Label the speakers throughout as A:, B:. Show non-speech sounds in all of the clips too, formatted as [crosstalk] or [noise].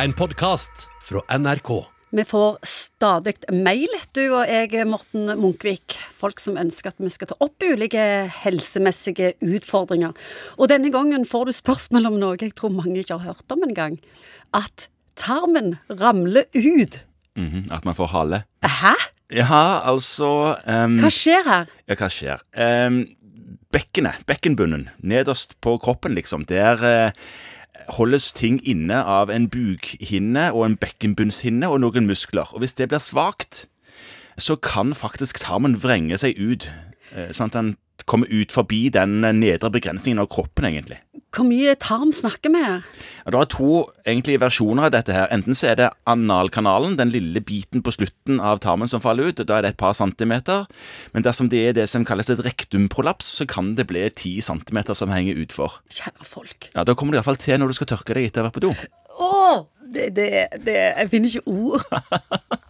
A: En podkast fra NRK.
B: Vi får stadig mail, du og jeg, Morten Munkvik. Folk som ønsker at vi skal ta opp ulike helsemessige utfordringer. Og denne gangen får du spørsmål om noe jeg tror mange ikke har hørt om engang. At tarmen ramler ut.
C: Mhm, at man får hale.
B: Hæ?
C: Ja, altså ehm,
B: Hva skjer her?
C: Ja, hva skjer? Ehm, bekkenet, bekkenbunnen, nederst på kroppen, liksom. Der eh, holdes ting inne av en bukhinne og en bekkenbunnshinne og noen muskler. Og hvis det blir svakt, så kan faktisk tarmen vrenge seg ut. eh, Sånn at den kommer ut forbi den eh, nedre begrensningen av kroppen, egentlig.
B: Hvor mye tarm snakker vi her?
C: Ja, Det er to egentlig versjoner av dette. her. Enten så er det analkanalen, den lille biten på slutten av tarmen som faller ut. og Da er det et par centimeter. Men dersom det er det som kalles et rektumprolaps, så kan det bli ti centimeter som henger utfor.
B: Kjære folk.
C: Ja, Da kommer du iallfall til når du skal tørke deg etter å ha vært på do.
B: Åh, det, det, det Jeg finner ikke ord.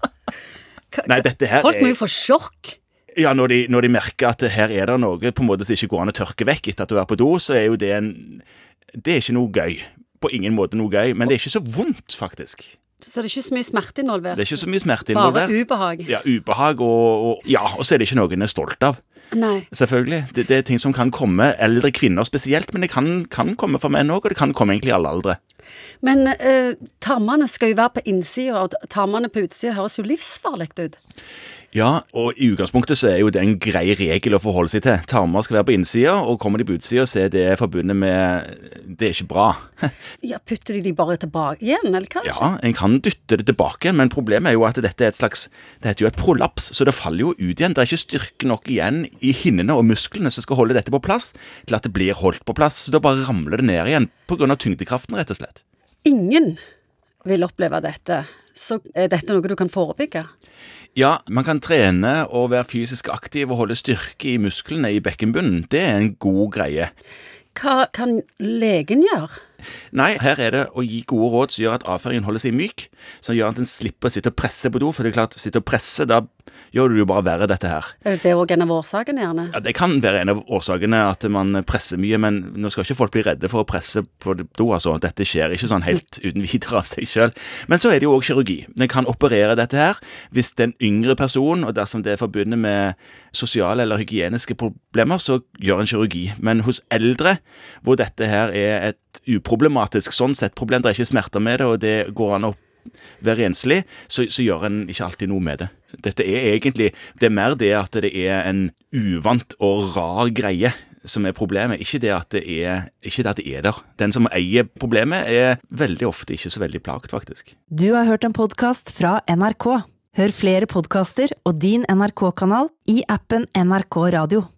B: Hva-
C: Nei, dette her
B: Folk må
C: er,
B: jo få sjokk.
C: ja, når, de, når de merker at her er det noe på en måte som ikke går an å tørke vekk etter at du har vært på do, så er jo det en Det er ikke noe gøy. På ingen måte noe gøy. Men det er ikke så vondt, faktisk.
B: Så det er ikke så mye smerte involvert.
C: Det er ikke så mye smerte
B: Bare
C: involvert.
B: ubehag.
C: Ja, ubehag og, og Ja, og så er det ikke noe en er stolt av.
B: Nei.
C: Selvfølgelig. Det, det er ting som kan komme, eldre kvinner spesielt, men det kan, kan komme for menn òg, og det kan komme egentlig i alle aldre.
B: Men eh, tarmene skal jo være på innsida, og tarmene på utsida høres jo livsfarlig ut.
C: Ja, og i utgangspunktet så er jo det en grei regel å forholde seg til. Tarmer skal være på innsida, og kommer de på utsida, så er det forbundet med Det er ikke bra.
B: Ja, Putter de de bare tilbake igjen, eller hva?
C: Ja, en kan dytte det tilbake, men problemet er jo at dette er et slags Det heter jo et prolaps, så det faller jo ut igjen. Det er ikke styrke nok igjen i hinnene og musklene som skal holde dette på plass, til at det blir holdt på plass. Så da bare ramler det ned igjen, på grunn av tyngdekraften, rett og slett.
B: Ingen vil oppleve dette. Så er dette noe du kan forebygge?
C: Ja, man kan trene og være fysisk aktiv og holde styrke i musklene i bekkenbunnen. Det er en god greie.
B: Hva kan legen gjøre?
C: Nei, her er det å gi gode råd som gjør at avføringen holder seg myk, som gjør at en slipper å sitte og presse på do, for det er klart, sitte og presse, da gjør du det jo bare verre dette her.
B: Er det òg en av årsakene, gjerne?
C: Ja, Det kan være en av årsakene at man presser mye, men nå skal ikke folk bli redde for å presse på do. altså. Dette skjer ikke sånn helt [laughs] uten videre av seg sjøl. Men så er det jo òg kirurgi. Den kan operere dette her hvis det er en yngre person, og dersom det er forbundet med sosiale eller hygieniske problemer, så gjør en kirurgi. Men hos eldre, hvor dette her er et uproblematisk sånn sett problem, det er ikke smerter med det, og det går an å være renslig, så, så gjør en ikke alltid noe med det. Dette er egentlig Det er mer det at det er en uvant og rar greie som er problemet, ikke det at det er, ikke det at det er der. Den som eier problemet, er veldig ofte ikke så veldig plagt, faktisk.
D: Du har hørt en podkast fra NRK. Hør flere podkaster og din NRK-kanal i appen NRK Radio.